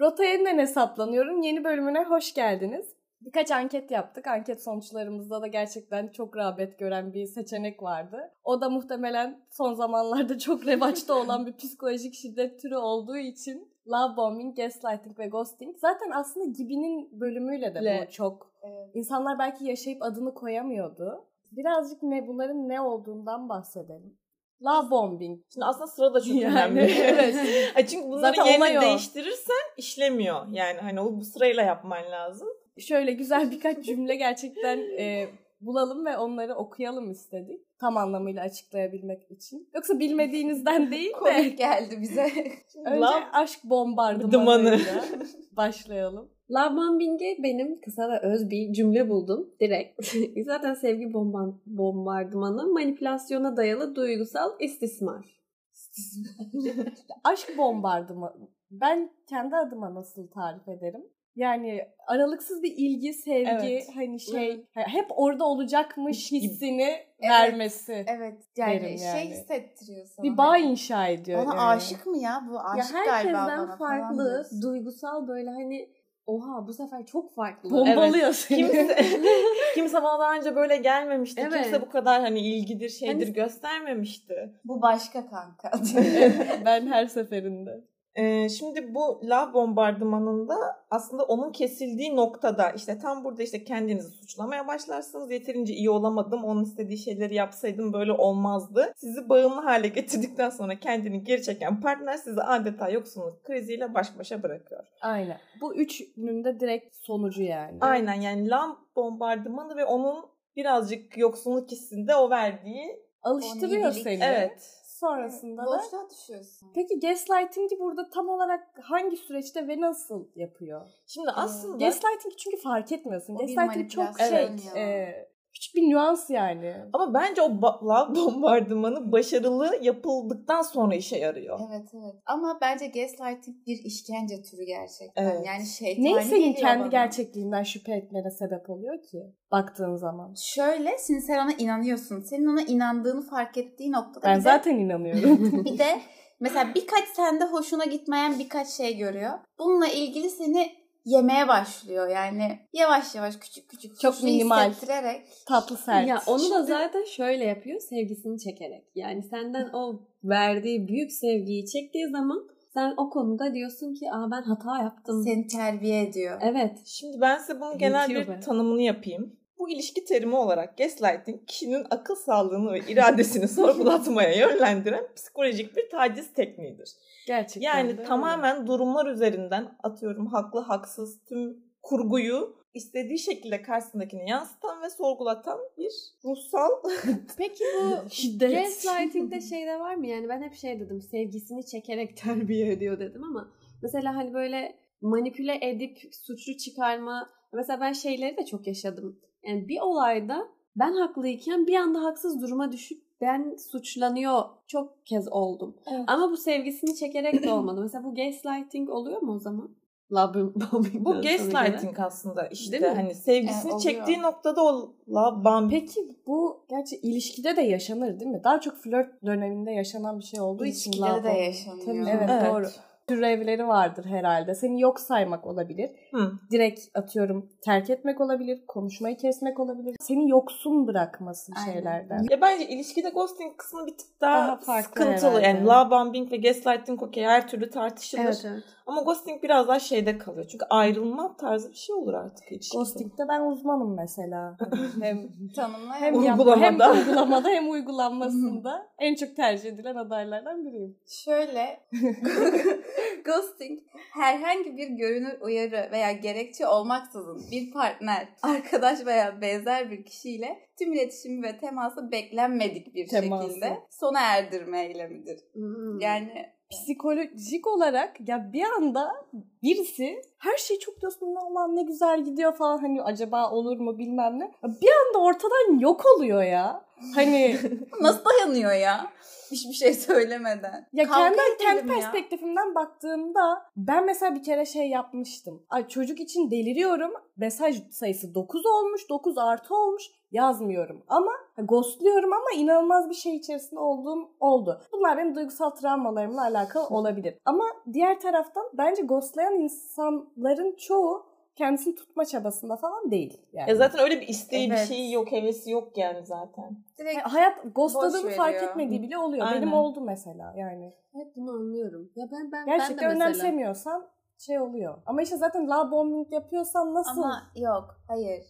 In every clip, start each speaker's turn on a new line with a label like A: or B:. A: Rota yeniden hesaplanıyorum. Yeni bölümüne hoş geldiniz. Birkaç anket yaptık. Anket sonuçlarımızda da gerçekten çok rağbet gören bir seçenek vardı. O da muhtemelen son zamanlarda çok revaçta olan bir psikolojik şiddet türü olduğu için love bombing, gaslighting ve ghosting. Zaten aslında Gibi'nin bölümüyle de
B: Le.
A: bu çok. İnsanlar belki yaşayıp adını koyamıyordu. Birazcık ne bunların ne olduğundan bahsedelim. Love bombing.
C: Şimdi aslında sıra da çok
B: Yani,
C: önemli.
A: evet.
C: Ay Çünkü bunları
A: Zaten olay o.
C: yeni değiştirirsen işlemiyor. Yani hani o bu sırayla yapman lazım.
A: şöyle güzel birkaç cümle gerçekten e, bulalım ve onları okuyalım istedik. Tam anlamıyla açıklayabilmek için. Yoksa bilmediğinizden değil de
B: Komik geldi bize.
A: önce
C: Love
A: aşk
C: dumanı.
A: bombardımanıyla başlayalım.
D: Love bombing'i benim kısa ve öz bir cümle buldum direkt. Zaten sevgi bomba bombardımanı manipülasyona dayalı duygusal istismar.
A: Aşk bombardımanı. Ben kendi adıma nasıl tarif ederim? Yani aralıksız bir ilgi, sevgi,
C: Evet.
A: hani şey hep orada olacakmış hissini
B: Evet.
A: vermesi.
B: Evet yani
A: Derim
B: şey
A: yani.
B: hissettiriyor sana.
A: Bir bağ inşa ediyor.
B: Bana
A: yani.
B: aşık mı ya bu? Aşık
D: ya
B: galiba
D: herkesten
B: bana falan
D: farklı,
B: diyorsun.
D: duygusal böyle hani oha bu sefer çok farklı.
A: bombalıyor seni.
C: Kimse kimse bana daha önce böyle gelmemişti.
D: Evet.
C: Kimse bu kadar hani ilgidir, şeydir
D: Hani-
C: göstermemişti.
B: Bu başka kanka.
A: ben her seferinde.
C: Ee, şimdi bu lav bombardımanında aslında onun kesildiği noktada işte tam burada işte kendinizi suçlamaya başlarsınız. Yeterince iyi olamadım, onun istediği şeyleri yapsaydım böyle olmazdı. Sizi bağımlı hale getirdikten sonra kendini geri çeken partner sizi adeta yoksunluk kriziyle baş başa bırakıyor.
A: Aynen. Bu üçünün de direkt sonucu yani.
C: Aynen yani lav bombardımanı ve onun birazcık yoksunluk hissinde o verdiği
A: Alıştırıyor
B: O nidilik.
A: seni.
C: evet.
A: Sonrasında da.
B: Boşluğa düşüyorsun.
A: Peki gaslighting'i burada tam olarak hangi süreçte ve nasıl yapıyor?
C: Şimdi aslında
A: Gaslighting çünkü fark etmiyorsun.
B: O bir
A: Gaslighting çok şey,
B: manipülasyon ya.
A: e, küçük bir nüans yani.
C: Ama bence o ba- lav bombardımanı başarılı yapıldıktan sonra işe yarıyor.
B: Evet evet. Ama bence gaslighting bir işkence türü gerçekten.
C: Evet.
B: Yani şeytani
A: Ney senin
B: geliyor
A: kendi
B: bana.
A: gerçekliğinden şüphe etmene sebep oluyor ki baktığın zaman?
B: Şöyle şimdi sen ona inanıyorsun. Senin ona inandığını fark ettiği noktada
A: Ben
B: bir de-
A: zaten inanıyorum.
B: Bir de mesela birkaç sende hoşuna gitmeyen birkaç şey görüyor. Bununla ilgili seni yemeye başlıyor. Yani yavaş yavaş küçük küçük
A: Çok
B: suçlu
A: minimal.
B: hissettirerek.
A: Tatlı sert.
D: Ya onu da
B: Şimdi-
D: zaten şöyle yapıyor sevgisini çekerek. Yani senden o verdiği büyük sevgiyi çektiği zaman sen o konuda diyorsun ki aa ben hata yaptım.
B: Seni terbiye ediyor.
D: Evet.
C: Şimdi ben size bunun genel
D: Yetiyor
C: bir
D: be.
C: tanımını yapayım. Bu ilişki terimi olarak gaslighting kişinin akıl sağlığını ve iradesini sorgulatmaya yönlendiren psikolojik bir taciz tekniğidir.
A: Gerçekten. de
C: Yani
A: öyle.
C: tamamen durumlar üzerinden atıyorum haklı haksız tüm kurguyu istediği şekilde karşısındakine yansıtan ve sorgulatan bir ruhsal
D: Peki bu
A: Şiddet.
D: Gaslighting'de şey de var mı? Yani ben hep şey dedim. Sevgisini çekerek terbiye ediyor dedim ama mesela hani böyle manipüle edip suçlu çıkarma. Mesela ben şeyleri de çok yaşadım. Yani bir olayda ben haklıyken bir anda haksız duruma düşüp ben suçlanıyor çok kez oldum.
C: Evet.
D: Ama bu sevgisini çekerek de olmadı. Mesela bu gaslighting oluyor mu o zaman? Love bombing'den
C: Bu
D: sonra gelen.
C: gaslighting aslında işte
D: Değil mi?
C: hani sevgisini
B: E, oluyor.
C: çektiği noktada o la bam
A: Peki bu gerçi ilişkide de yaşanır değil mi? Daha çok flört döneminde yaşanan bir şey olduğu için
B: İlişkilerde de
A: love-
B: yaşanıyor.
A: Tabii, evet,
C: Evet.
A: doğru. Türevleri vardır herhalde. Seni yok saymak olabilir.
C: Hı.
A: Direkt atıyorum terk etmek olabilir, konuşmayı kesmek olabilir. Seni yoksun bırakması
B: Aynen.
A: şeylerden.
C: Ya bence ilişkide ghosting kısmı bir tık daha,
A: Daha farklı
C: sıkıntılı.
A: herhalde.
C: Yani love bombing ve gaslighting okey her türlü tartışılır.
D: Evet evet.
C: Ama ghosting biraz daha şeyde kalıyor. Çünkü ayrılma tarzı bir şey olur artık ilişkide.
A: Ghosting'de ben uzmanım mesela. hem
B: Tanımla
A: hem
B: yani.
A: yap-
C: Uygulamada.
A: hem uygulamada hem uygulanmasında en çok tercih edilen adaylardan biriyim.
B: Şöyle ghosting herhangi bir görünür uyarı veya gerekçe olmaksızın bir partner, arkadaş veya benzer bir kişiyle tüm iletişimi ve teması beklenmedik bir
A: Teması.
B: şekilde sona erdirme eylemidir.
D: Hmm.
B: Yani
A: psikolojik olarak ya bir anda birisi her şey çok diyorsun Allah'ım ne güzel gidiyor falan hani acaba olur mu bilmem ne. Ya Bir anda ortadan yok oluyor ya. Hani
B: Nasıl dayanıyor ya? Hiçbir şey söylemeden.
A: Ya
B: Kavga
A: kendi, kendi
B: edelim ya.
A: perspektifimden baktığımda ben mesela bir kere şey yapmıştım. Ay çocuk için deliriyorum. Mesaj sayısı 9 olmuş, 9 artı olmuş. Yazmıyorum ama ha, ghostluyorum ama inanılmaz bir şey içerisinde olduğum oldu. Bunlar benim duygusal travmalarımla alakalı olabilir. Ama diğer taraftan bence ghostlayan insanların çoğu kendisini tutma çabasında falan değil. Yani.
B: E,
C: Ya zaten öyle bir isteği
B: Evet.
C: bir şeyi yok, hevesi yok yani zaten.
B: Direkt
A: Hayat ghostladığını
B: Boş
A: fark
B: veriyor.
A: etmediği bile oluyor.
C: Aynen.
A: Benim oldu mesela yani.
D: Hep bunu anlıyorum. Ya ben ben
A: Gerçekten
D: ben de mesela.
A: önemsemiyorsan şey oluyor. Ama işte zaten la bombing yapıyorsan nasıl?
B: Ama yok, hayır.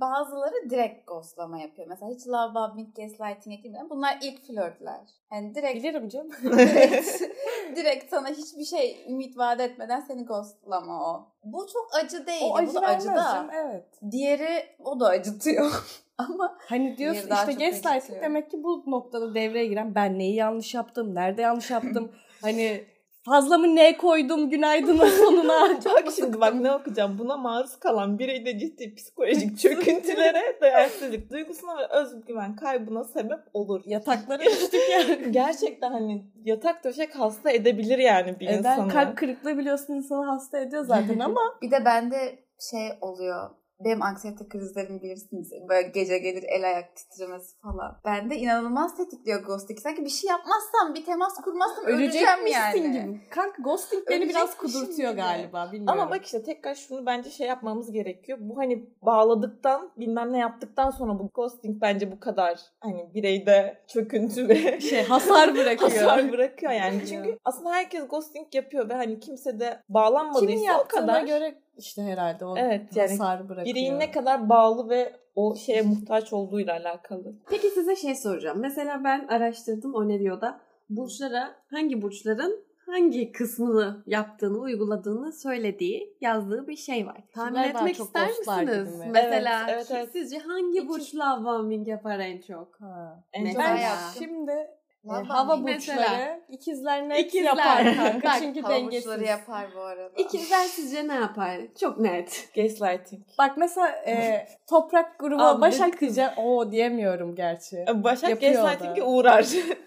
B: Bazıları direkt ghostlama yapıyor. Mesela hiç love bombing, gaslighting'e girmeden bunlar ilk flörtler. Yani direkt
A: Bilirim canım.
B: direkt, direkt sana hiçbir şey ümit vaat etmeden seni ghostlama o. Bu çok acı değil.
A: o acı
B: şey bu da acı
A: vermez
B: da.
A: canım, evet.
B: Diğeri o da acıtıyor. Ama
A: Hani diyorsun
B: Bir daha
A: işte
B: çok acıtıyor.
A: gaslighting demek ki bu noktada devreye giren ben neyi yanlış yaptım, nerede yanlış yaptım, hani fazla mı ne koydum günaydının sonuna.
C: Bak şimdi bak ne okuyacağım. Buna maruz kalan bireyde ciddi psikolojik çöküntülere, değersizlik duygusuna ve özgüven kaybına sebep olur.
A: Yataklara düştük ya.
C: Gerçekten hani yatak döşek hasta edebilir yani bir
A: Eder,
C: insanı.
A: E, kalp kırıklığı biliyorsun insanı hasta ediyor zaten ama
B: bir de bende şey oluyor. Benim anksiyete krizlerim bilirsiniz. Böyle gece gelir el ayak titremesi falan. Bende inanılmaz tetikliyor ghosting. Sanki bir şey yapmazsam, bir temas kurmazsam öleceğim
A: ölecekmişsin
B: yani.
A: gibi. Kanka ghosting beni biraz
B: Ölecekmişim
A: kudurtuyor
B: gibi.
A: galiba bilmiyorum.
C: Ama bak işte tekrar şunu bence şey yapmamız gerekiyor. Bu hani bağladıktan bilmem ne yaptıktan sonra bu ghosting bence bu kadar hani bireyde çöküntü ve
A: şey hasar bırakıyor.
C: hasar bırakıyor yani. Çünkü
A: Bırakıyor.
C: aslında herkiz ghosting yapıyor ve hani kimse de bağlanmadıysa
A: Kimin
C: o
A: yaptığına
C: kadar
A: göre işte herhalde o
C: Evet, yani
A: hasar bırakıyor.
C: bireyin ne kadar bağlı ve o şeye muhtaç olduğuyla alakalı.
D: Peki size şey soracağım. Mesela ben araştırdım o ne diyor da burçlara hangi burçların hangi kısmını yaptığını, uyguladığını söylediği, yazdığı bir şey var. Tahmin
A: Kimler daha
D: etmek
A: çok
D: ister
A: dostlar
D: misiniz?
A: gibi mi?
D: Mesela
C: Evet, evet,
D: ki-
C: evet.
D: sizce hangi
C: İki-
D: burç love bombing yapar en çok?
A: Ha.
C: En
D: Ne?
C: çok
A: Ben
B: Bayağı.
A: şimdi e,
B: Vallahi
A: hava
D: Mesela.
A: burçları ikizler ne
D: İkizler.
A: yapar kanka
D: Bak,
A: çünkü
B: Hava burçları
A: dengesiz.
B: yapar bu
C: Ah.
B: arada.
D: İkizler sizce ne yapar? Çok net.
C: gaslighting.
A: Bak mesela e, toprak grubu
D: Abi,
A: Başak diyeceğim. Oo diyemiyorum gerçi.
C: Başak
A: Yapıyor da.
C: gaslighting'e uğrar.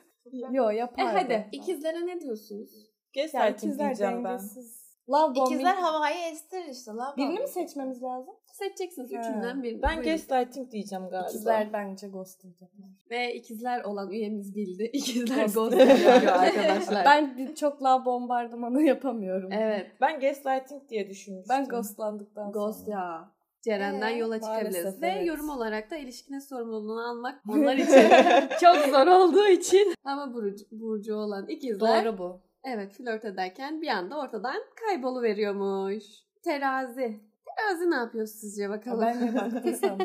A: Yo
D: E
A: yapar.
D: hadi ikizlere ne diyorsunuz?
A: Ya
C: gaslighting
A: ikizler
C: diyeceğim ben.
A: dengesiz. Love bombing.
B: İkizler havayı estirir işte. Love
A: Birini
B: bombing.
A: mi seçmemiz lazım?
D: Seçeceksiniz
A: Ha.
D: üçünden birini.
C: Ben
D: Buyurun.
C: gaslighting diyeceğim galiba.
A: İkizler bence ghost diyecekler.
D: Ve ikizler olan üyemiz bildi. İkizler
C: Ghost.
D: ghost yapıyor arkadaşlar.
A: Ben bir- çok love bombardımanı yapamıyorum.
D: Evet.
C: Ben gaslighting diye düşünmüştüm.
A: Ben ghostlandıktan sonra.
D: Ghost ya. Ceren'den
B: Ee,
D: yola
A: maalesef
D: çıkabiliriz. Ve
A: evet.
D: yorum olarak da ilişkine sorumluluğunu almak onlar için çok zor olduğu için. Ama burcu, burcu olan ikizler
A: Doğru bu.
D: evet flört ederken bir anda ortadan kayboluveriyormuş. Terazi. Terazi ne yapıyor sizce bakalım?
A: Ben de baktıysam.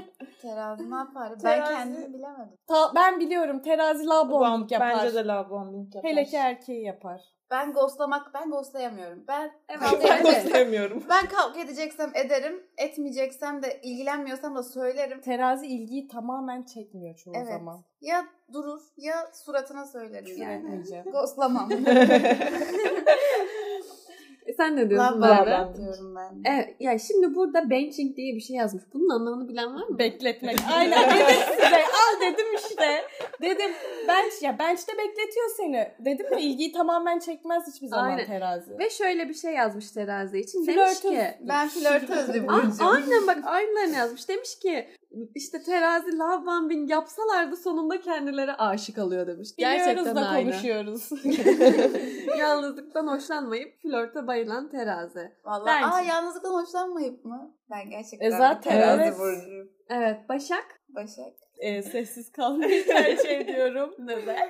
B: Terazi ne yapar?
C: Terazi-
B: Ben kendimi bilemedim.
A: Ta- ben biliyorum terazi la bombing yapar.
C: Bence de love bombing yapar.
A: Hele ki erkeği yapar.
B: Ben ghostlamak, ben ghostlayamıyorum. Ben
D: Evet,
B: kavga
C: ben
D: evet.
B: ederim.
C: ghostlayamıyorum.
B: Ben kavga edeceksem ederim, etmeyeceksem de ilgilenmiyorsam da söylerim.
A: Terazi ilgiyi tamamen çekmiyor çoğu
B: Evet.
A: zaman.
B: Ya durur ya suratına söylerim
A: Küfür
B: yani.
A: etmeyeceğim.
B: Ghostlamam.
D: E, Sen ne diyorsun
B: Love
D: Merve?
B: bombing diyorum ben.
D: Evet, ya şimdi burada benching diye bir şey yazmış. Bunun anlamını bilen var mı?
A: Bekletmek. Aynen dedim size. Al dedim işte. Dedim bench ya bench'te bekletiyor seni. Dedim mi ilgiyi tamamen çekmez hiçbir zaman
D: Aynen.
A: terazi.
D: Ve şöyle bir şey yazmış terazi için. Demiş
A: Flörtöz.
D: ki
B: Ben flörtöz bir
D: Aa,
B: burcum.
D: Ah, aynen bak aynılarını yazmış. Demiş ki işte terazi love bombing yapsalardı sonunda kendileri aşık alıyor demiş.
A: Gerçekten
D: Gerçekten
A: da
D: aynı.
A: konuşuyoruz.
D: Yalnızlıktan hoşlanmayıp flörte bayılan terazi.
B: Vallahi
D: Bence.
B: aa yalnızlıktan hoşlanmayıp mı? Ben gerçekten
A: E zaten
B: terazi
A: evet.
B: burcuyum.
D: Evet Başak.
B: Başak.
A: Ee, sessiz kalmayı tercih ediyorum.
D: Neden?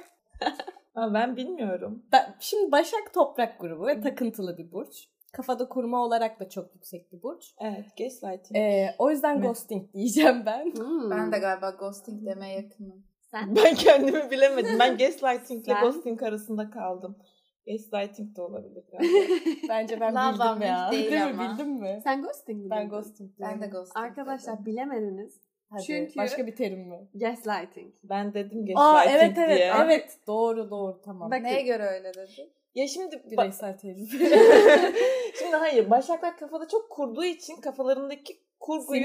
C: Ha, ben bilmiyorum.
A: Ben, şimdi Başak toprak grubu ve takıntılı bir burç. Kafada kurma olarak da çok yüksek bir burç.
C: Evet gaslighting.
A: Ee, o yüzden
C: Evet.
A: ghosting diyeceğim ben.
D: Hmm.
B: Ben de galiba ghosting demeye yakınım.
D: Sen?
C: Ben kendimi bilemedim. Ben gaslighting ile
D: Sen?
C: ghosting arasında kaldım. Gaslighting de olabilir. galiba.
A: Bence ben
B: Love
A: bildim ya.
B: bombing değil
A: mi?
B: ama.
A: Bildim mi?
D: Sen ghosting mi?
A: Ben
D: dedin?
A: ghosting
B: Ben de
A: diyorum.
B: ghosting.
D: Arkadaşlar
B: dedim.
D: bilemediniz.
A: Hadi,
D: Çünkü-
A: Başka bir terim mi?
D: Gaslighting.
C: ben dedim
A: Aa
C: gaslighting
A: evet evet
C: diye.
A: evet doğru doğru tamam.
D: Bak-
B: Neye göre öyle dedi?
C: Ya şimdi ba-
A: Bireysel tecrübe.
C: Şimdi hayır, başaklar kafada çok kurduğu için kafalarındaki kurguyu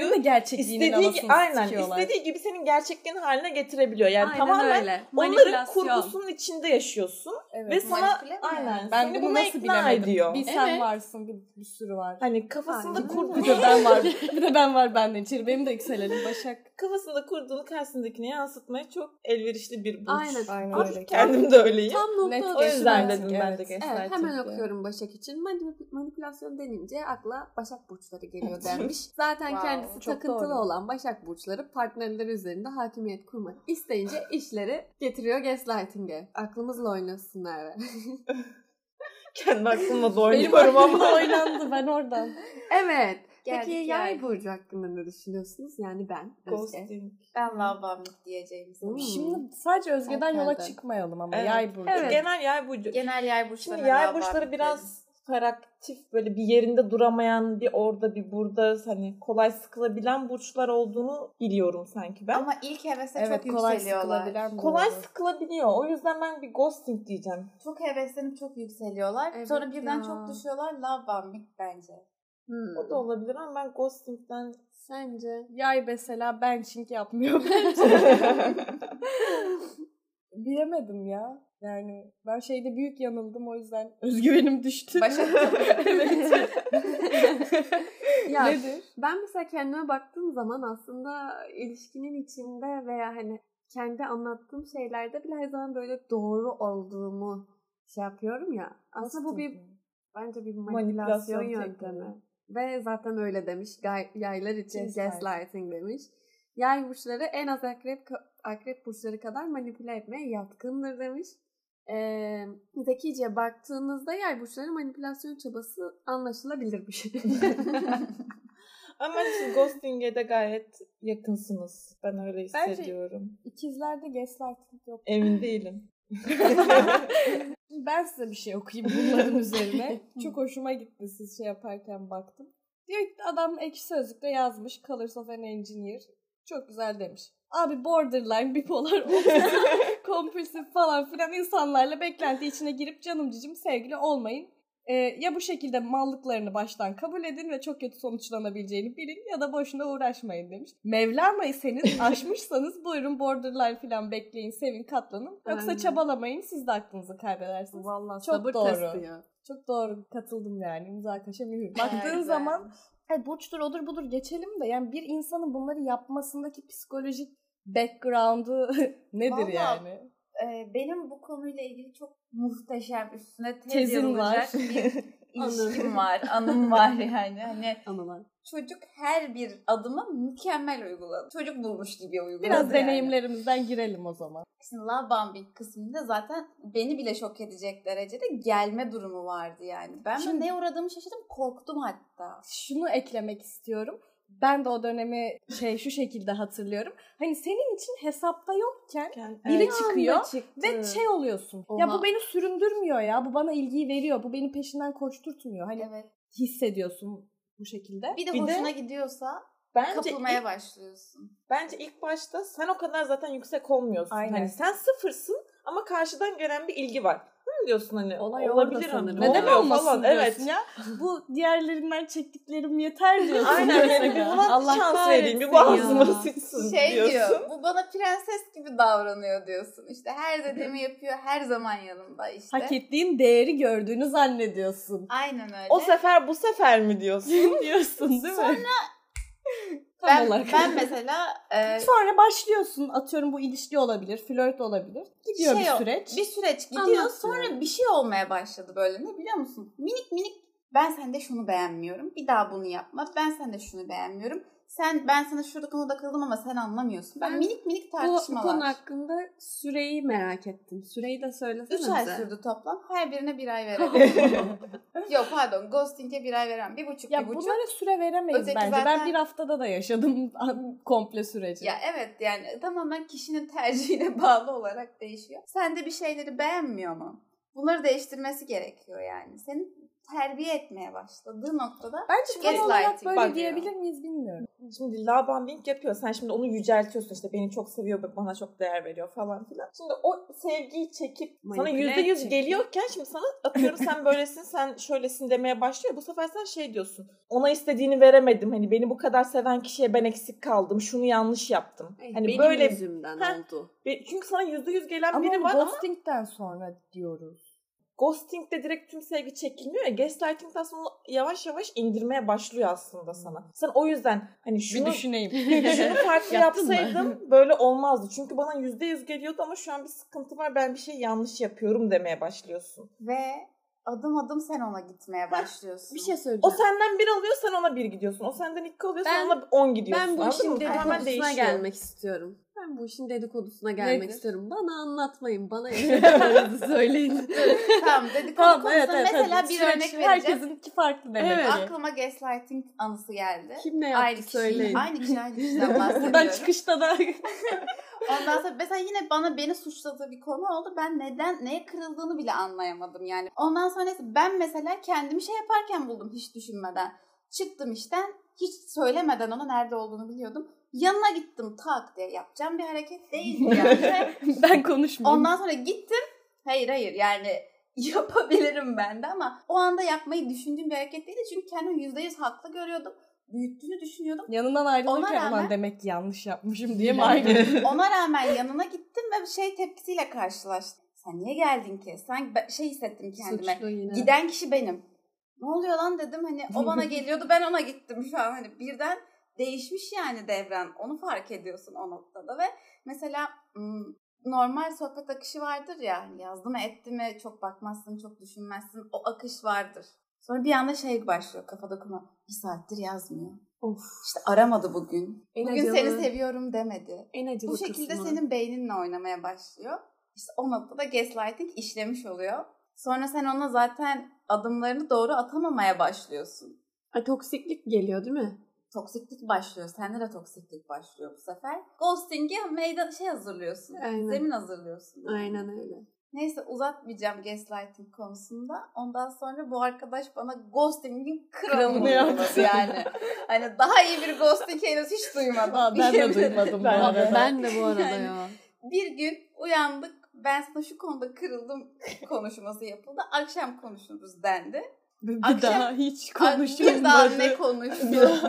A: Senin de gerçekliğinin
C: istediği
A: anasını
C: aynen
A: sikiyorlar.
C: istediği gibi senin gerçekliğini haline getirebiliyor. Yani
D: Aynen
C: tamamen
D: öyle.
C: onların
D: Manipülasyon.
C: kurgusunun içinde yaşayaşıyorsun
A: Evet.
C: ve sana
B: Manipüle mi?
C: aynen
A: ben
C: seni
A: bunu
C: buna
A: nasıl
C: ikna
A: bilemedim?
C: ediyor.
A: Bir sen
D: Evet.
A: varsın bir, bir sürü var.
C: Hani kafasında
D: Aynen
C: kurduğu
A: Bir de ben var. bir de ben var benden içeri. Benim de yükselenim Başak.
C: kafasında kurduğunu karşısındakine yansıtmaya çok elverişli bir burç.
D: Aynen.
A: Aynen
D: Abi,
A: öyle.
C: Kendim de öyleyim.
D: Tam
A: Net
D: nokta
C: o
D: atışı
C: yüzden
D: bence.
A: kesin.
C: dedim ben de
A: Evet.
C: gaslighting
D: Evet hemen
C: diye.
D: okuyorum Başak için. Manip- manipülasyon denince akla Başak Burçları geliyor denmiş. Zaten
B: Wow,
D: kendisi
A: çok
D: takıntılı
A: doğru.
D: olan Başak Burçları partnerleri üzerinde hakimiyet kurmak isteyince işleri getiriyor gaslighting'e. Aklımızla oynasınlar ve.
C: Kendi aklımla da
A: Benim
C: oynuyorum
A: aklımda
C: ama.
A: oynandı ben oradan.
D: evet. Peki
B: Geldik
D: yay
B: yay.
D: burcu hakkında ne düşünüyorsunuz? Yani ben. Özge.
C: Ghosting.
B: Ben love bombing diyeceğim sana.
D: Hmm.
A: Şimdi sadece Özge'den yola
D: Erken'den.
A: çıkmayalım ama
C: Evet.
A: yay burcu.
D: Evet.
C: Genel yay burcu.
B: Genel yay burçlarına
C: Şimdi yay
B: love
C: burçları
B: bombing
C: biraz hiperaktif böyle bir yerinde duramayan bir orada bir burada hani kolay sıkılabilen burçlar olduğunu biliyorum sanki ben.
B: derim. Ama ilk hevese
A: Evet
B: çok
A: kolay
B: yükseliyorlar.
A: sıkılabilen bu
C: kolay
A: oldu.
C: sıkılabiliyor. O yüzden ben bir ghosting diyeceğim.
B: Çok heveslenip çok yükseliyorlar.
D: Evet
B: Sonra birden
D: ya.
B: çok düşüyorlar. Love bombing bence.
D: Hmm.
C: O da olabilir ama ben ghosting'den
D: Sence?
A: Yay mesela benching yapmıyor. Bilemedim ya. Yani ben şeyde büyük yanıldım o yüzden özgüvenim düştü.
B: Başak
A: evet.
D: Ya
A: Nedir?
D: Ben mesela kendime baktığım zaman aslında ilişkinin içinde veya hani kendi anlattığım şeylerde bile her zaman böyle doğru olduğumu şey yapıyorum ya. Aslında bu bir bence bir manipülasyon,
C: Manipülasyon
D: yöntemi. Ve zaten öyle demiş gay- yaylar için
A: Gaslighting.
D: gaslighting demiş. Yay burçları en az akrep akrep burçları kadar manipüle etmeye yatkındır demiş. Ee, zekice baktığınızda yay burçları manipülasyon çabası anlaşılabilir bir şey.
C: ama siz ghosting'e de gayet yakınsınız. Ben öyle
A: Bence-
C: hissediyorum.
A: İkizlerde gaslighting yok.
C: Emin değilim.
A: Ben size bir şey okuyayım bunların üzerine. Çok hoşuma gitti siz şey yaparken baktım. Diyor ki adam ekşi sözlükte yazmış Colors of an Engineer. Çok güzel demiş. Abi borderline, bipolar, obsesif, kompulsif falan filan insanlarla beklenti içine girip canım cicim sevgili olmayın. Ee, ya bu şekilde mallıklarını baştan kabul edin ve çok kötü sonuçlanabileceğini bilin ya da boşuna uğraşmayın demiş. Mevlana'ysanız aşmışsanız buyurun borderline falan bekleyin, sevin, katlanın. Yoksa
D: Aynen.
A: çabalamayın siz de aklınızı kaybedersiniz.
D: Vallahi
A: Çok
D: sabır
A: doğru.
D: testi ya.
A: Çok doğru katıldım yani imza kaşe mühür.
B: Güzel,
A: Baktığın
B: güzel.
A: zaman "Ay, burçtur odur budur geçelim de yani bir insanın bunları yapmasındaki psikolojik background'u nedir
B: Vallahi
A: yani?
B: Ee, benim bu konuyla ilgili çok muhteşem üstüne tez
A: Tezin
B: yazılacak
A: var.
B: bir ilişkim
D: Anım.
B: var. Anım var yani. Hani
D: Anılar.
B: çocuk her bir adımı mükemmel uyguladı. Çocuk bulmuş gibi uyguladı.
A: Biraz
B: yani.
A: deneyimlerimizden girelim o zaman.
B: Şimdi love bombing kısmında zaten beni bile şok edecek derecede gelme durumu vardı yani. Ben
A: Şimdi-
B: de ne uğradığımı şaşırdım. Korktum hatta.
A: Şunu eklemek istiyorum. Ben de o dönemi şey şu şekilde hatırlıyorum. Hani senin için hesapta yokken Biri
C: Evet.
A: çıkıyor ve
D: çıktı.
A: şey oluyorsun. Ya
D: Oha.
A: bu beni süründürmüyor ya. Bu bana ilgiyi veriyor. Bu beni peşinden koşturtmuyor. Hani
B: Evet.
A: hissediyorsun bu şekilde.
B: Bir de
C: Bir de-
B: hoşuna gidiyorsa
C: Bence
B: kapılmaya
C: ilk,
B: başlıyorsun.
C: bence ilk başta sen o kadar zaten yüksek olmuyorsun.
A: Aynen.
C: Hani sen sıfırsın ama karşıdan gelen bir ilgi var. Hı diyorsun hani
D: Olay
C: olabilir
D: orada
C: hani.
D: sanırım.
C: ne
A: Neden
C: oluyor
A: olmasın
C: falan.
A: diyorsun
C: Evet.
A: ya? Bu diğerlerinden çektiklerim yeter diyorsun.
C: Aynen yani bir buna şans vereyim. Bir boğazıma
D: ya.
C: sıçsın
B: Şey
C: diyorsun.
B: diyor, bu bana prenses gibi davranıyor diyorsun. İşte her dediğimi yapıyor, her zaman yanımda işte.
A: Hak ettiğin değeri gördüğünü zannediyorsun.
B: Aynen öyle.
C: O sefer bu sefer mi diyorsun?
A: diyorsun değil mi? Sonra Tam
B: ben,
A: olarak.
B: ben mesela e,
A: Sonra başlıyorsun atıyorum bu ilişki olabilir, flört olabilir. Gidiyor
B: Şey
A: bir
B: o-
A: süreç.
B: bir süreç gidiyor
D: Anlatıyor.
B: sonra bir şey olmaya başladı böyle ne biliyor musun? Minik minik ben sende şunu beğenmiyorum. Bir daha bunu yapma. Ben sende şunu beğenmiyorum. Sen ben sana şurada konuda kıldım ama sen anlamıyorsun. Ben
D: Ben
B: minik minik
D: Bu, bu
B: tartışmalar.
D: konu hakkında süreyi merak ettim. Süreyi de söylesene
B: 3 ay
D: bize.
B: sürdü toplam. Her birine bir ay verelim. Yok pardon. Ghosting'e bir ay veren. Bir buçuk
A: ya
B: bir buçuk.
A: bunlara süre veremeyiz
B: Öteki
A: bence. Ben
B: zaten-
A: bir haftada da yaşadım komple süreci.
B: Ya evet yani tamamen kişinin tercihine bağlı olarak değişiyor. Sen de bir şeyleri beğenmiyor mu? Bunları değiştirmesi gerekiyor yani. Senin terbiye etmeye başladığı noktada
A: Bence tam olarak
B: Gaslighting
A: böyle
C: bak-
A: diyebilir miyiz bilmiyorum.
C: Şimdi lavabombing yapıyor. Sen şimdi onu yüceltiyorsun işte beni çok seviyor, bana çok değer veriyor falan filan. Şimdi o sevgiyi çekip sana
D: Manipüle
C: yüzde yüz
D: çekip.
C: geliyorken şimdi sana atıyorum sen böylesin, sen şöylesin demeye başlıyor. Bu sefer sen şey diyorsun. Ona istediğini veremedim. Hani beni bu kadar seven kişiye ben eksik kaldım. Şunu yanlış yaptım. hani
D: benim
C: böyle
D: yüzümden
C: Heh.
D: oldu.
C: bir- çünkü sana yüzde yüz gelen
A: Ama
C: biri
A: onu
C: var ama
A: ghosting'den sonra diyoruz.
C: ghosting'de direkt tüm sevgi çekilmiyor ya. Gaslighting'de aslında onu yavaş yavaş indirmeye başlıyor aslında
D: Hmm.
C: sana. Sen o yüzden hani şunu
A: düşüneyim.
C: şunu farklı
D: Yaptın mı?
C: yapsaydım böyle olmazdı. Çünkü bana yüzde yüz geliyordu ama şu an bir sıkıntı var. Ben bir şey yanlış yapıyorum demeye başlıyorsun.
B: ve adım adım sen ona gitmeye başlıyorsun.
A: bir şey söyleyeceğim.
C: O senden bir alıyor sen ona bir gidiyorsun. O senden iki alıyor sen
D: Ben-
C: ona on gidiyorsun.
D: Ben bu
C: Anladın
D: işin
C: mı? Tamamen
D: dedikodusuna
C: değişiyor.
D: gelmek istiyorum. Ben bu işin dedikodusuna gelmek
A: Nedir?
D: istiyorum. Bana anlatmayın. Bana yaşadıklarınızı söyleyin.
B: tamam dedik
A: Tamam,
B: konusunda
A: evet, evet,
B: mesela
A: evet.
B: bir
A: Sürekli
B: örnek vereceğim.
A: Herkesinki farklı demek
D: Evet.
A: ki.
B: Aklıma gaslighting anısı geldi.
D: Kim ne
B: Aynı
D: yaptı
B: kişi,
D: söyleyin.
B: aynı kişi aynı kişiden
A: Buradan
B: bahsediyorum.
A: çıkışta da
B: Ondan sonra mesela yine bana beni suçladığı bir konu oldu. Ben neden, neye kırıldığını bile anlayamadım yani. Ondan sonra neyse, ben mesela kendimi şey yaparken buldum hiç düşünmeden. Çıktım işten hiç söylemeden ona nerede olduğunu biliyordum. Yanına gittim tak diye yapacağım bir hareket değildi yani.
A: ben konuşmayayım.
B: Ondan sonra gittim. Hayır hayır yani yapabilirim ben de ama o anda yapmayı düşündüğüm bir hareket değildi. Çünkü kendimi %100 haklı görüyordum. Büyüttüğünü düşünüyordum.
A: Yanından
B: Ona
A: ayrılırken
B: rağmen-
A: "Ulan demek ki yanlış yapmışım diye mi ayrıldın?
B: Ona rağmen yanına gittim ve şey tepkisiyle karşılaştım. Sen niye geldin ki? Sanki ben- şey hissettim kendime.
D: Suçlu yine.
B: Giden kişi benim. Ne oluyor lan dedim hani o bana geliyordu ben ona gittim şu an hani birden değişmiş yani devren. Onu fark ediyorsun o noktada ve mesela ım, normal sohbet akışı vardır ya hani yazdı mı etti mi çok bakmazsın çok düşünmezsin o akış vardır. Sonra bir anda şey başlıyor kafada kuma bir saattir yazmıyor.
D: Of.
B: İşte aramadı bugün.
D: En
B: Bugün
D: acılı-
B: seni seviyorum demedi.
D: En acılı
B: Bu şekilde
D: kısmı.
B: senin beyninle oynamaya başlıyor. İşte o noktada gaslighting işlemiş oluyor. Sonra sen ona zaten adımlarını doğru atamamaya başlıyorsun.
D: Ay, toksiklik geliyor değil mi?
B: Toksiklik başlıyor. Sende de toksiklik başlıyor bu sefer. Ghosting'e meydan şey hazırlıyorsun.
D: Aynen.
B: Zemin hazırlıyorsun.
D: Aynen öyle.
B: Neyse uzatmayacağım gaslighting konusunda. Ondan sonra bu arkadaş bana ghosting'in kralını
A: Kralını
B: yaptı
A: yaptı.
B: yani. hani daha iyi bir ghosting henüz hiç duymadım.
A: Aa, ben de duymadım bu
C: Ben-
A: arada.
D: Ben de bu arada
B: Yani-
D: ya.
B: Bir gün uyandık. Ben sana şu konuda kırıldım konuşması yapıldı. Akşam konuşuruz dendi.
A: Bir
B: Akşam-
A: daha hiç
B: Bir daha
A: konuşulmadı.
B: ne konuştu?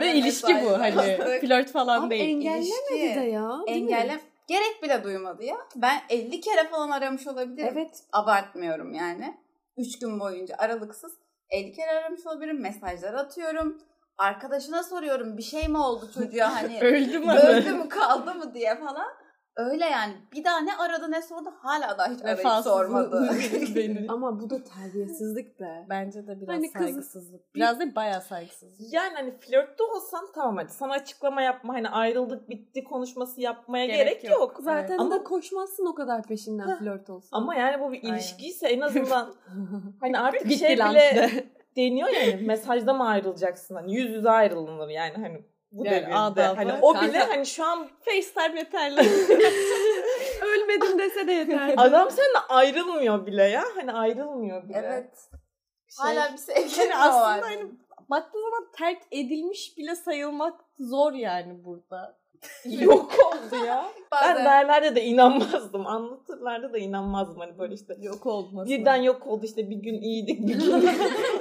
A: Ve ilişki bu hani flört falan
D: Abi
A: değil.
D: engellemedi de ya. değil mi?
B: Engellem gerek bile duymadı ya. Ben 50 kere falan aramış olabilirim.
D: Evet.
B: Abartmıyorum yani. 3 gün boyunca aralıksız 50 kere aramış olabilirim. Mesajlar atıyorum. Arkadaşına soruyorum bir şey mi oldu çocuğa hani
A: Öldü mü?
B: Öldü mü kaldı mı diye falan. Öyle yani. Bir daha ne aradı ne sordu hala daha hiç arayıp
A: Vefasız
B: sormadı.
A: beni.
D: Ama bu da terbiyesizlik be.
A: Bence de biraz
D: Hani kız-
A: saygısızlık. Biraz da bayağı saygısızlık.
C: Yani hani flörtte olsan tamam hadi sana açıklama yapma hani ayrıldık bitti konuşması yapmaya gerek,
A: Gerek
C: yok.
A: yok.
D: Zaten
C: Ama-
D: de koşmazsın o kadar peşinden
C: Heh.
D: flört olsun.
C: Ama yani bu bir
A: Aynen.
C: ilişkiyse en azından hani artık
A: Bitti
C: şey
A: lan.
C: bile deniyor yani mesajda mı ayrılacaksın hani yüz yüze ayrılınır yani hani bu
A: Yani
C: devirde
A: adabı,
C: hani o
A: kanka.
C: bile hani şu an FaceTime yeterli.
D: Ölmedim dese de yeter.
C: Adam seninle ayrılmıyor bile ya. Hani ayrılmıyor bile.
B: evet.
C: Şey-
B: Hala bir sevgili
A: Yani
B: var.
A: aslında hani baktığı zaman terk edilmiş bile sayılmak zor yani burada.
C: Yok oldu ya. ben
B: Bazen-
C: derlerde de inanmazdım. Anlatırlarda da inanmazdım. Hani böyle işte
A: Yok olmasın.
C: birden yok oldu işte bir gün iyiydik bir gün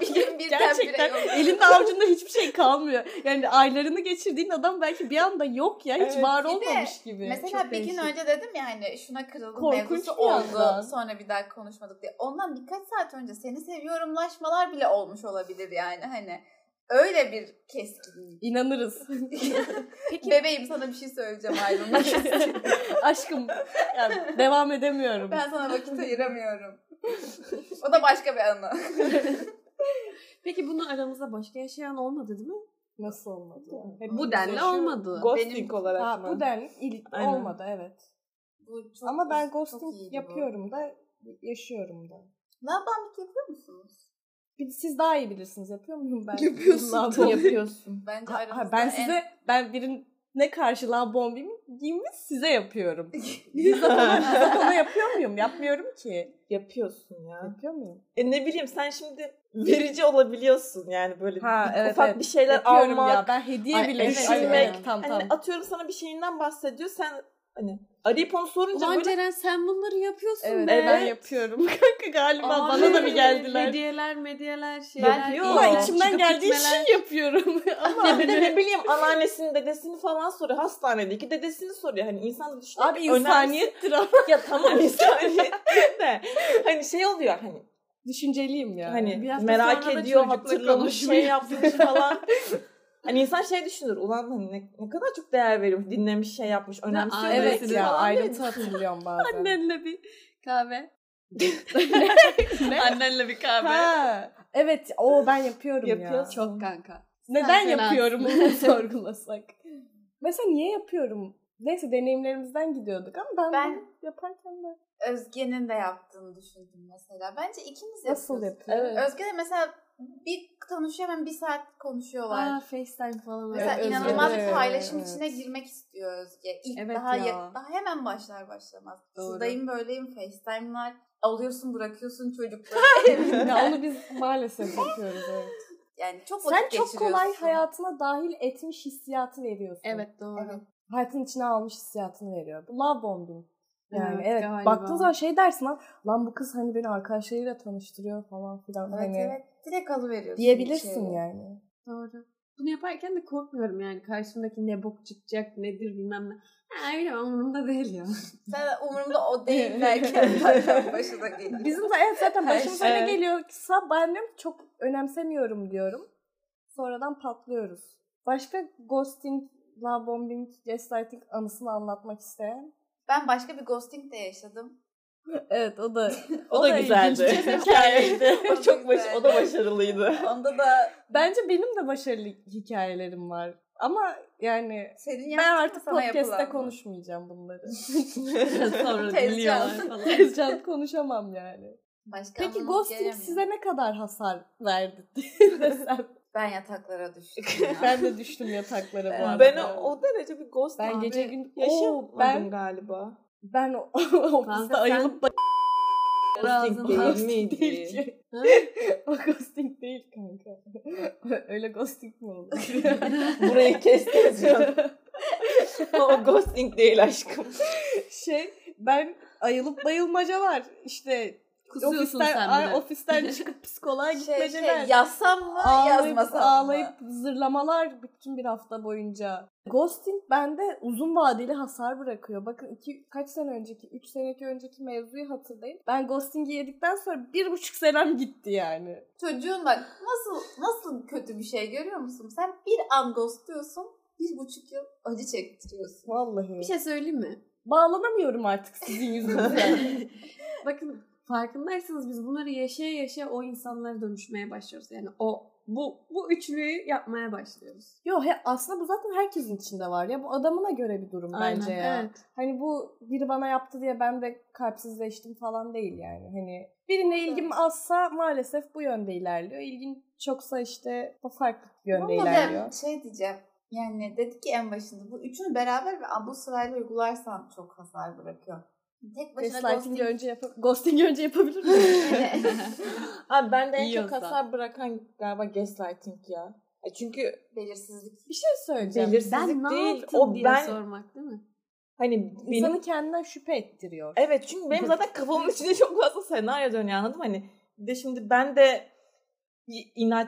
B: bir gün birden
A: Gerçekten
B: bire yok.
A: elinde avucunda hiçbir şey kalmıyor. Yani aylarını geçirdiğin adam belki bir anda yok ya hiç
C: Evet.
A: var
B: Bir de
A: olmamış gibi.
B: Mesela
A: Çok
B: bir gün
A: değişik.
B: önce dedim ya hani şuna kırıldım
A: Korkunç
B: mevzusu
A: bir
B: oldu.
A: yandan.
B: Sonra bir daha konuşmadık diye. Ondan birkaç saat önce seni seviyorumlaşmalar bile olmuş olabilir yani hani. Öyle bir keskinlik.
A: inanırız.
B: Bebeğim sana bir şey söyleyeceğim ayrılmak istiyorum.
A: Aşkım yani devam edemiyorum.
B: Ben sana vakit ayıramıyorum. o da başka bir anı.
D: Peki bunu aramızda başka yaşayan olmadı değil mi?
A: Nasıl olmadı?
D: Bu denli olmadı.
C: ghosting
B: Benim-
C: olarak
A: Ha,
C: mı?
A: bu denli ilk
C: Aynen.
A: olmadı evet.
B: Bu çok-
A: Ama ben
B: çok
A: ghosting
B: iyiydi bu.
A: yapıyorum da yaşıyorum da.
B: Ne yapalım ki yapıyor musunuz?
A: Bir- Siz daha iyi bilirsiniz yapıyor muyum ben?
B: Yapıyorsun
A: Yıllardır
B: tabii.
A: yapıyorsun.
B: Bence
A: Ha- ha,
B: aramızda
A: ben
B: en-
A: size ben birin ne karşılığa bombimi giyimi size yapıyorum. Zaten ona yapıyor muyum? Yapmıyorum ki.
C: Yapıyorsun ya.
A: Yapıyor muyum?
C: E ne bileyim sen şimdi verici olabiliyorsun yani böyle
A: Ha,
C: bir-
A: evet,
C: ufak
A: evet.
C: bir şeyler
A: Yapıyorum
C: almak.
A: ya. Ben hediye
D: Ay,
A: bile
D: evet,
A: düşünmek.
C: evet.
A: Tam
C: Hani
A: tam.
C: atıyorum sana bir şeyinden bahsediyor sen hani arayıp onu sorunca
D: Ulan
C: böyle
D: Ceren sen bunları yapıyorsun
A: Evet,
D: be.
A: ben yapıyorum. Kanka galiba bana da mı
D: Ay,
A: geldiler?
D: Hediyeler medyeler şeyler.
C: Ben- Yok.
A: Ulan
C: Aa,
A: içimden geldiği
D: gitmeler.
A: şey yapıyorum. Ama
C: Ya bir de
A: hani-
C: ne bileyim anneannesini dedesini falan soruyor. Hastanedeki dedesini soruyor. Hani insan da düşünüyor.
A: Abi
C: ki önemli-
A: insaniyettir ama.
C: Ya tamam insaniyet de. Hani şey oluyor hani.
A: Düşünceliyim ya.
C: Hani
D: Bir hafta
C: merak
D: sonra da
C: ediyor
D: çocukla
C: hatırlamış şey
D: konuşmayı.
C: yapmış falan. Hani insan şey düşünür. Ulan hani ne, ne kadar çok değer veriyorum. Dinlemiş şey yapmış. Önemsiyor.
D: ailesi
A: evet
C: dedesini
A: ya
C: falan diye
A: ayrıntı hatırlıyorum bazen.
D: Annenle bir kahve.
A: Ne?
D: Annenle bir kahve.
A: Ha, evet o ben yapıyorum ya.
C: Yapıyorsun.
D: Çok kanka.
A: Neden
D: Sen
A: yapıyorum onu sorgulasak. Mesela niye yapıyorum? Neyse deneyimlerimizden gidiyorduk ama ben,
B: Ben-
A: bunu yaparken de
B: Özge'nin de yaptığını düşündüm mesela. Bence ikimiz
A: nasıl
B: yapıyoruz.
A: yapıyorum?
C: Evet.
B: Özge de mesela bir konuşuyor hemen bir saat konuşuyorlar.
D: Aa FaceTime falan.
B: Mesela
A: Evet, Özge
B: inanılmaz
A: de,
B: bir paylaşım
A: evet.
B: içine girmek istiyor Özge. İlk
D: Evet
B: daha
D: ya.
B: ya- daha hemen başlar başlamaz.
D: Doğru.
B: Sıdayım böyleyim FaceTime var. Alıyorsun bırakıyorsun çocukları
A: ya
B: evinden.
A: onu biz maalesef yapıyoruz evet.
B: yani çok vakit
A: Sen çok kolay
B: geçiriyorsun.
A: hayatına dahil etmiş hissiyatı veriyorsun.
D: Evet doğru.
B: Evet.
A: Hayatın içine almış hissiyatını veriyor. Bu love bombing. Yani evet,
D: galiba.
A: baktığın zaman şey dersin lan, lan bu kız hani beni arkadaşlarıyla tanıştırıyor falan filan
B: Evet
A: hani
B: evet. Şey. Direkt alıveriyorsun.
A: diyebilirsin
B: içeri.
A: yani.
D: Doğru. Bunu yaparken de korkmuyorum yani. Karşımdaki ne bok çıkacak nedir bilmem ne. Ha öyle umurumda değil ya.
B: Sen umurumda o değil derken zaten başına geliyor.
A: Bizim de evet zaten
B: Her
A: başımıza
C: şey.
A: ne geliyorsa ben diyorum ki çok önemsemiyorum diyorum. Sonradan patlıyoruz. Başka ghosting, love bombing, gaslighting anısını anlatmak isteyen.
B: Ben başka bir ghosting de yaşadım.
A: Evet o da
C: O, da, güzeldi. Hikayeydi.
B: O da
C: çok baş, o da
B: güzeldi.
C: başarılıydı.
B: Onda da
A: Bence benim de başarılı hikayelerim var. Ama yani
B: senin
A: ben
B: yaptığın
A: artık
B: sana
A: podcast'te
B: yapılan.
A: konuşmayacağım bunları.
D: Sonra
B: Tezcan.
D: gülüyorlar falan.
A: Tezcan konuşamam yani.
B: Başka
A: Peki
B: anlamı
A: ghosting
B: gelemiyor.
A: size ne kadar hasar verdi desem.
B: Ben yataklara düştüm. ya.
A: ben de düştüm yataklara bu arada.
C: ben o, o derece bir ghost
A: Ben
C: abi
A: gece gün-
C: yaşamadım
A: Oo, ben-
C: galiba.
A: Ben o
D: Kanka
A: ofiste
D: sen-
A: ayılıp ba-
D: Ağzını-
C: değil
D: ağzını-
C: miydi?
A: değil ki.
D: Ha?
A: o ghosting değil kanka. Öyle ghosting mi olur?
C: Burayı kestiniz ya. o ghosting değil aşkım.
A: şey ben ayılıp bayılmaca var. İşte
D: Kusuyorsun
A: ofisten,
D: sen
A: ay,
D: bir de.
A: ofisten çıkıp psikoloğa
B: şey,
A: gitmeceler.
B: şey yazsam mı
A: ağlayıp,
B: yazmasam
A: ağlayıp
B: mı?
A: zırlamalar bütün bir hafta boyunca. Ghosting bende uzun vadeli hasar bırakıyor. Bakın iki, kaç sene önceki, 3 seneki önceki mevzuyu hatırlayın. Ben ghosting'i yedikten sonra bir buçuk senem gitti yani.
B: Çocuğun bak nasıl nasıl kötü bir şey görüyor musun? Sen bir an ghostluyorsun bir buçuk yıl acı çektiriyorsun.
A: Vallahi.
D: Bir şey söyleyeyim mi?
A: Bağlanamıyorum artık sizin yüzünüzden.
D: Bakın farkındaysanız biz bunları yaşaya yaşaya o insanlara dönüşmeye başlıyoruz. Yani o bu bu üçlüyü yapmaya başlıyoruz.
A: Yo he, aslında bu zaten herkesin içinde var ya. Bu adamına göre bir durum bence ya.
D: Evet.
A: Hani bu biri bana yaptı diye ben de kalpsizleştim falan değil yani. Hani birine ilgim azsa maalesef bu yönde ilerliyor. İlgin çoksa işte o farklı yönde
B: Ama ben
A: ilerliyor.
B: şey diyeceğim. Yani dedik ki en başında bu üçünü beraber ve bu sırayla uygularsan çok hasar bırakıyor. Tek başına
A: Gaslighting'i
B: ghosting.
A: önce yapıp ghosting'i önce yapabilir miyim?
C: Abi ben de en çok
D: Yiyorsa.
C: hasar bırakan galiba gaslighting ya. E çünkü
B: Belirsizlik.
A: bir şey söyleyeceğim.
C: Belirsizlik
D: Ben ne
C: değil.
D: yaptım
C: O
D: diye
C: ben
D: sormak değil mi?
C: hani benim
A: İnsanı kendinden şüphe ettiriyor.
C: Evet çünkü benim zaten kafamın içinde çok fazla senaryo dönüyor anladın mı? Hani bir de şimdi ben de bir inat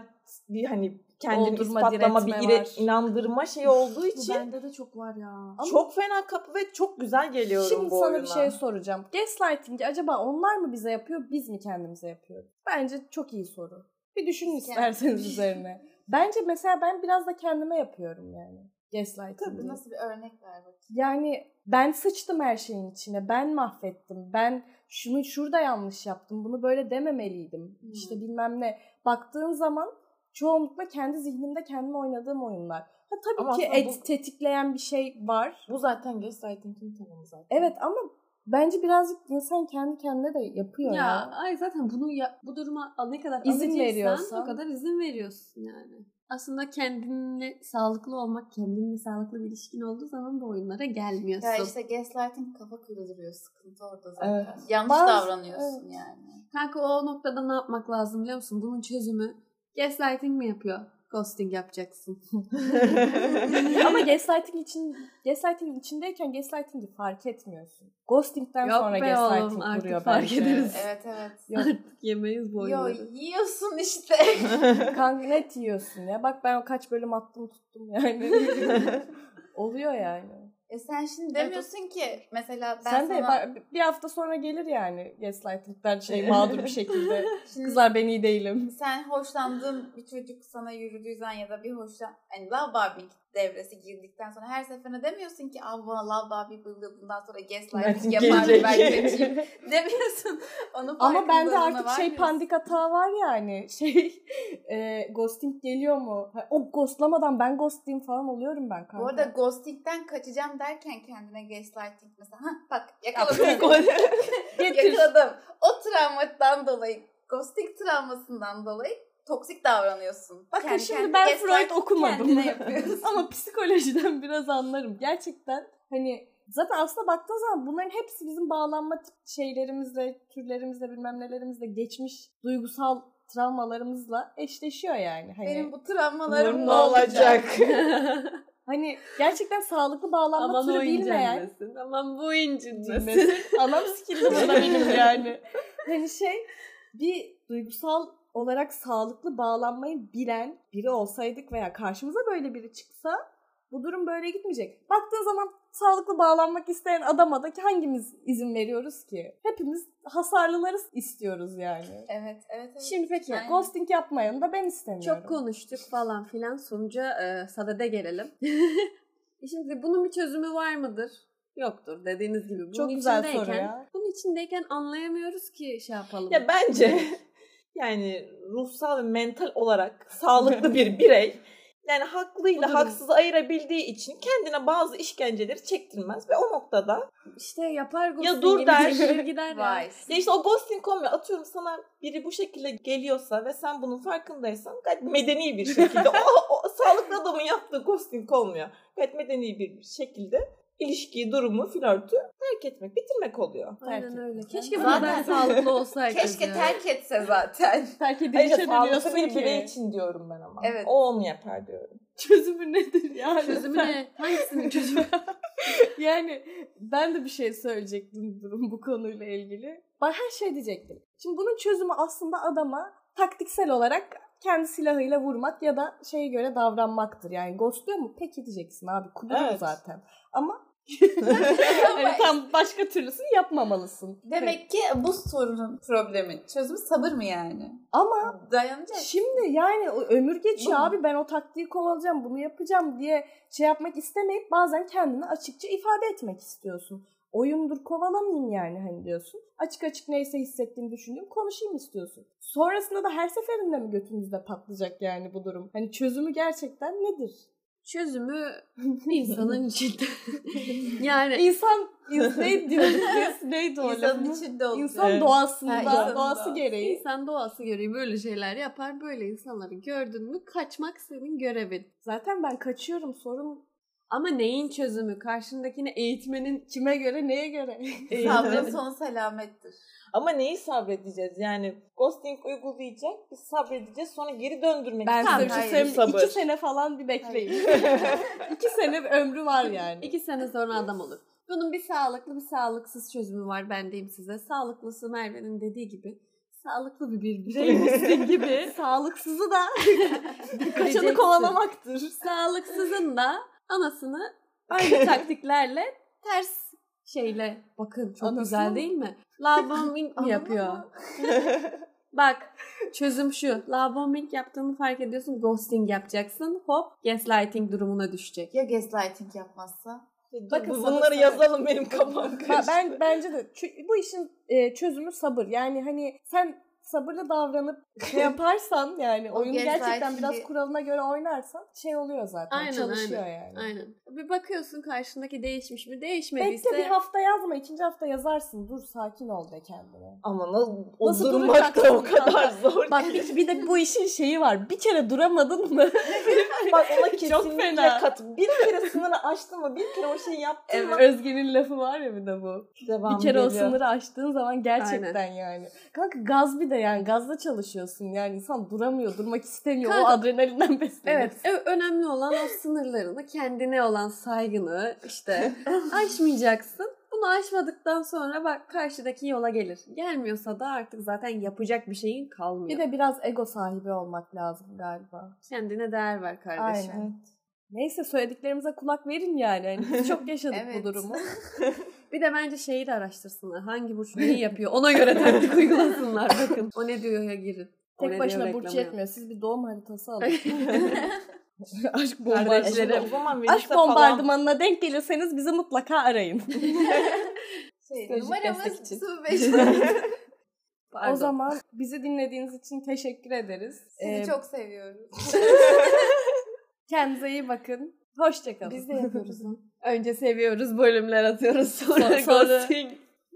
C: bir hani kendini
A: Oldurma,
C: ispatlama bir
A: diretme
C: ire-
A: var.
C: inandırma şeyi olduğu
D: Bu
C: için
D: bende de çok var ya.
C: çok fena kapı ve çok güzel geliyorum
A: Şimdi
C: bu
A: sana
C: oyuna.
A: bir şey soracağım. Gaslighting'i acaba onlar mı bize yapıyor, biz mi kendimize yapıyoruz? Bence çok iyi soru. Bir düşünün
B: Biz
A: isterseniz
B: kendimiz.
A: üzerine. Bence mesela ben biraz da kendime yapıyorum yani. Gaslighting'i.
B: Nasıl bir örnek ver bakayım.
A: Yani ben sıçtım her şeyin içine. Ben mahvettim. Ben şunu şurada yanlış yaptım. Bunu böyle dememeliydim.
D: Hmm.
A: İşte bilmem ne. Baktığın zaman çoğunlukla kendi zihnimde kendime oynadığım oyunlar. Ha tabii
C: Ama
A: ki
C: aslında
A: et,
C: bu-
A: tetikleyen bir şey var.
C: Bu zaten gaslighting'in tanımı zaten.
A: Evet ama Bence birazcık insan kendi kendine de yapıyor ya.
D: Ya ay zaten bunu ya, bu duruma al- ne kadar
A: İzin
D: izin veriyorsan
A: veriyorsan.
D: o kadar izin veriyorsun yani. Aslında kendinle sağlıklı olmak, kendinle sağlıklı bir ilişkin olduğu zaman bu oyunlara gelmiyorsun.
B: Ya işte gaslighting kafa kırılıyor. Sıkıntı orada zaten.
C: Evet.
B: Yanlış
A: Bazı-
B: davranıyorsun yani.
D: Kanka o noktada ne yapmak lazım biliyor musun? Bunun çözümü gaslighting mi yapıyor? Ghosting yapacaksın.
A: Ama gaslighting için gaslighting içindeyken gaslighting'i fark etmiyorsun. Ghosting'den
D: Yok
A: sonra
D: be
A: gaslighting
D: oğlum, artık
A: vuruyor
D: fark
A: bence.
D: ederiz.
B: Evet evet.
A: Yok.
D: Artık yemeyiz bu
B: Yo
D: oyunları.
B: yiyorsun işte.
A: Kanka net yiyorsun ya. Bak ben o kaç bölüm attım tuttum yani. Oluyor yani.
B: e sen şimdi demiyorsun ki mesela ben
A: Sen de
B: sana
A: bak- bir hafta sonra gelir yani gaslighting'den şey mağdur bir şekilde.
B: şimdi
A: Kızlar ben iyi değilim.
B: sen hoşlandığın bir çocuk sana yürüdüğü zaman ya da bir hoşlan hani love bombing devresi girdikten sonra her seferinde demiyorsun ki Allah love bombing buldu bundan sonra gaslighting yapar
C: Gelecek.
B: ben kaçayım demiyorsun. Onun
A: Ama bende
B: farkındalığına
A: artık şey
B: varmıyorsun.
A: pandik hata var yani. Şey e, ghosting geliyor mu? Ha, O ghostlamadan ben ghostlayayım falan oluyorum ben kanka.
B: Bu arada ghosting'den kaçacağım derken kendine gaslighting mesela. Ha bak yakaladım.
A: getir.
B: yakaladım. O travmadan dolayı, ghosting travmasından dolayı toksik davranıyorsun.
A: Bakın
B: Kendi
A: şimdi
B: kendine
A: ben
B: gaslighting
A: Freud okumadım.
B: kendine yapıyorsun.
A: Ama psikolojiden biraz anlarım. Gerçekten hani zaten aslında baktığın zaman bunların hepsi bizim bağlanma tip şeylerimizle, türlerimizle, bilmem nelerimizle, geçmiş duygusal travmalarımızla eşleşiyor yani. Hani,
B: Benim bu
C: Bunun
B: travmalarım
C: ne olacak?
A: hani gerçekten sağlıklı bağlanma
D: Aman o
A: türü bilmeyen
D: incinmesin. Aman bu incinmesin.
A: cümlesi. Anam sikildi burada benim yani. Hani şey bir duygusal olarak sağlıklı bağlanmayı bilen biri olsaydık veya karşımıza böyle biri çıksa bu durum böyle gitmeyecek. Baktığın zaman sağlıklı bağlanmak isteyen adama da hangimiz izin veriyoruz ki? Hepimiz hasarlıları istiyoruz yani.
B: Evet, evet, evet.
A: Şimdi peki
B: Aynen.
A: ghosting yapmayanı da ben istemiyorum.
D: Çok konuştuk falan filan sonuca e, sadede gelelim. E, Şimdi bunun bir çözümü var mıdır? Yoktur dediğiniz gibi. Bunun
A: Çok güzel
D: içindeyken,
A: soru ya.
D: Bunun içindeyken anlayamıyoruz ki şey yapalım.
C: Ya bence yani ruhsal ve mental olarak sağlıklı bir birey yani
D: Bu durum-
C: haklıyla haksızı ayırabildiği için kendine bazı işkenceleri çektirmez ve o noktada
D: İşte yapar ghosting.
C: dur der.
D: şey gider ya.
B: Vay.
C: ya işte o ghosting kombi atıyorum sana biri bu şekilde geliyorsa ve sen bunun farkındaysan gayet medeni bir şekilde o, o sağlıklı adamın yaptığı ghosting olmuyor. Gayet medeni bir şekilde ilişkiyi, durumu, flörtü terk etmek, bitirmek oluyor.
D: Aynen
A: Terk
D: öyle.
A: etmez.
D: Keşke bu
B: Zaten-
D: kadar sağlıklı olsaydı.
B: Keşke
D: ya.
B: terk etse zaten.
A: Terk
C: Ayrıca
A: edilişe
C: sağlıklı
A: dönüyorsun
C: bir birey
A: ki.
C: için diyorum ben ama.
B: Evet.
C: O onu yapar diyorum.
A: Çözümü nedir yani?
D: Çözümü ne? Hangisinin çözümü?
A: yani ben de bir şey söyleyecektim durum bu konuyla ilgili. Ben her şey diyecektim. Şimdi bunun çözümü aslında adama taktiksel olarak kendi silahıyla vurmak ya da şeye göre davranmaktır. Yani ghostluyor mu? Peki diyeceksin abi. Kudurum
C: Evet.
A: zaten. Ama yani Hani tam başka türlüsünü yapmamalısın.
B: Demek ki bu sorunun problemin çözümü sabır mı yani?
A: Ama
B: Dayanacak.
A: Şimdi yani o ömür geçiyor
B: Bu-
A: abi ben o taktiği kovalayacağım bunu yapacağım diye şey yapmak istemeyip bazen kendini açıkça ifade etmek istiyorsun. Oyundur kovalamayayım yani hani diyorsun. Açık açık neyse hissettiğim düşündüğüm konuşayım istiyorsun. Sonrasında da her seferinde mi götümüzde patlayacak yani bu durum? Hani çözümü gerçekten nedir?
D: çözümü insanın içinde. yani
A: İnsan, insan ne diyoruz biz? Neydi o
B: İnsanın
A: lafımız?
B: içinde olacak.
A: İnsan
C: Evet.
A: doğasında,
B: Ha, insanın
A: doğası
B: doğası.
A: gereği.
D: İnsan doğası gereği böyle şeyler yapar. Böyle insanları gördün mü kaçmak senin görevin.
A: Zaten ben kaçıyorum sorun
D: Ama neyin çözümü? Karşındakini eğitmenin
A: kime göre neye göre?
B: Ee, Sabrın sonu selamettir.
C: Ama neyi sabredeceğiz? Yani ghosting uygulayacak, biz sabredeceğiz sonra geri döndürmek.
A: Ben
C: Tamam,
A: size bir şey
B: hayır.
A: söyleyeyim.
C: Sabır.
A: İki sene falan bir bekleyin. iki sene bir ömrü var yani.
D: iki sene sonra adam olur. Bunun bir sağlıklı bir sağlıksız çözümü var ben diyeyim size. Sağlıklısı Merve'nin dediği gibi. Sağlıklı bir bir bireymişsin gibi.
A: Sağlıksızı da kaçanı
D: Diyeceksin.
A: kovalamaktır.
D: Sağlıksızın da anasını aynı taktiklerle ters şeyle bakın çok
A: Anasını
D: güzel
A: mı?
D: değil mi? Love bombing mi
B: Ananı
D: yapıyor?
B: mı?
D: Bak çözüm şu. Love bombing yaptığını fark ediyorsun. Ghosting yapacaksın. Hop gaslighting durumuna düşecek.
B: Ya gaslighting yapmazsa?
A: Bakın
C: Bakın
A: sabır-
C: bunları yazalım benim kafam
A: Ba-
C: karıştı.
A: ben bence de çö- bu işin e, çözümü sabır. Yani hani sen sabırlı davranıp şey yaparsan yani
B: O
A: oyunu gerçekten
B: gezerkiliği-
A: biraz kuralına göre oynarsan şey oluyor zaten.
D: Aynen,
A: çalışıyor yani.
D: Aynen. Bir bakıyorsun karşındaki değişmiş mi? Değişmediyse
A: Bekle bir hafta yazma. ikinci hafta yazarsın. Dur sakin ol de kendine.
C: Ama nasıl, o
A: Nasıl
C: durmak da o
A: duracaksın
C: kadar
A: kanka?
C: zor.
A: Bak bir, bir de bu işin şeyi var. Bir kere duramadın mı?
C: Bak ona
A: Çok
C: kesinlikle
A: fena.
C: kat. Bir kere sınırı aştın mı? Bir kere o şeyi yaptın mı?
A: Özge'nin lafı var ya bir de bu.
C: Devam
A: bir kere o
C: geliyor.
A: sınırı aştığın zaman gerçekten yani. Kanka gaz bir de yani gazla çalışıyorsun. Yani insan duramıyor, durmak istemiyor.
D: Kanka-
A: O adrenalinden besleniyor.
D: Evet, ö- önemli olan o sınırlarını, kendine olan saygını işte aşmayacaksın. Bunu aşmadıktan sonra bak karşıdaki yola gelir. Gelmiyorsa da artık zaten yapacak bir şeyin kalmıyor.
A: Bir de biraz ego sahibi olmak lazım galiba.
D: kendine değer ver kardeşim.
A: Aynen. Neyse söylediklerimize kulak verin yani. Hani biz çok yaşadık
B: Evet.
A: bu durumu.
D: Bir de bence şeyi de araştırsınlar. Hangi burç neyi yapıyor? Ona göre taktik uygulasınlar bakın. O ne diyor ya girin. O
A: Tek
D: ne diyor
A: başına
D: reklama
A: burç
D: yap.
A: yetmiyor. Siz bir doğum haritası alın. Aşk
C: E şimdi
A: bombardımanı.
C: o zaman
A: Aşk
C: Venüs'e falan
A: bombardımanına denk gelirseniz bizi mutlaka arayın.
B: Şey,
C: Psikolojik destek
B: numaramız
C: için.
B: 05.
D: Pardon.
A: O zaman bizi dinlediğiniz için teşekkür ederiz.
B: Sizi
A: Ee,
B: çok seviyoruz.
A: Kendinize iyi bakın. Hoşçakalın.
B: Biz de yapıyoruz. onu.
D: önce seviyoruz, bölümler atıyoruz. Sonra,
A: Sonra- sonra-
D: ghosting.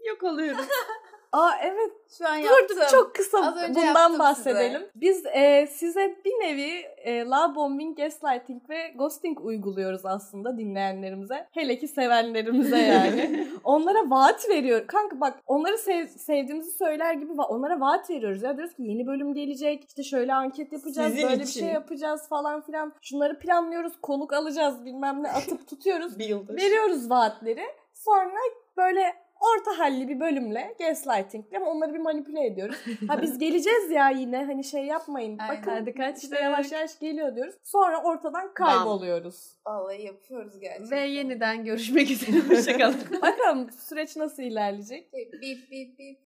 D: Yok oluyoruz.
A: Aa evet
B: Şu an
A: Dur,
B: yaptım.
A: dur, çok kısa
B: Az önce yaptım
A: bundan bahsedelim. Biz e, size bir nevi e, love bombing, gaslighting ve ghosting uyguluyoruz aslında dinleyenlerimize. Hele ki sevenlerimize yani. onlara vaat veriyor. Kanka bak onları sev- sevdiğimizi söyler gibi va- onlara vaat veriyoruz. Ya diyoruz ki yeni bölüm gelecek. İşte şöyle anket yapacağız.
C: Sizin
A: böyle
C: için.
A: bir şey yapacağız falan filan. Şunları planlıyoruz. Konuk alacağız bilmem ne atıp tutuyoruz.
C: bir yıldır.
A: Veriyoruz vaatleri. Sonra böyle orta halli bir bölümle gaslightingle ama onları bir manipüle ediyoruz. Ha biz geleceğiz ya yine hani şey yapmayın.
B: Aynen.
A: Bakın
D: Hadi kaç
A: işte yavaş yavaş geliyor diyoruz. Sonra ortadan kayboluyoruz.
B: Vallahi yapıyoruz gerçekten.
D: Ve yeniden görüşmek üzere. Hoşçakalın.
A: Bakalım süreç nasıl ilerleyecek?
B: Bip bip bip.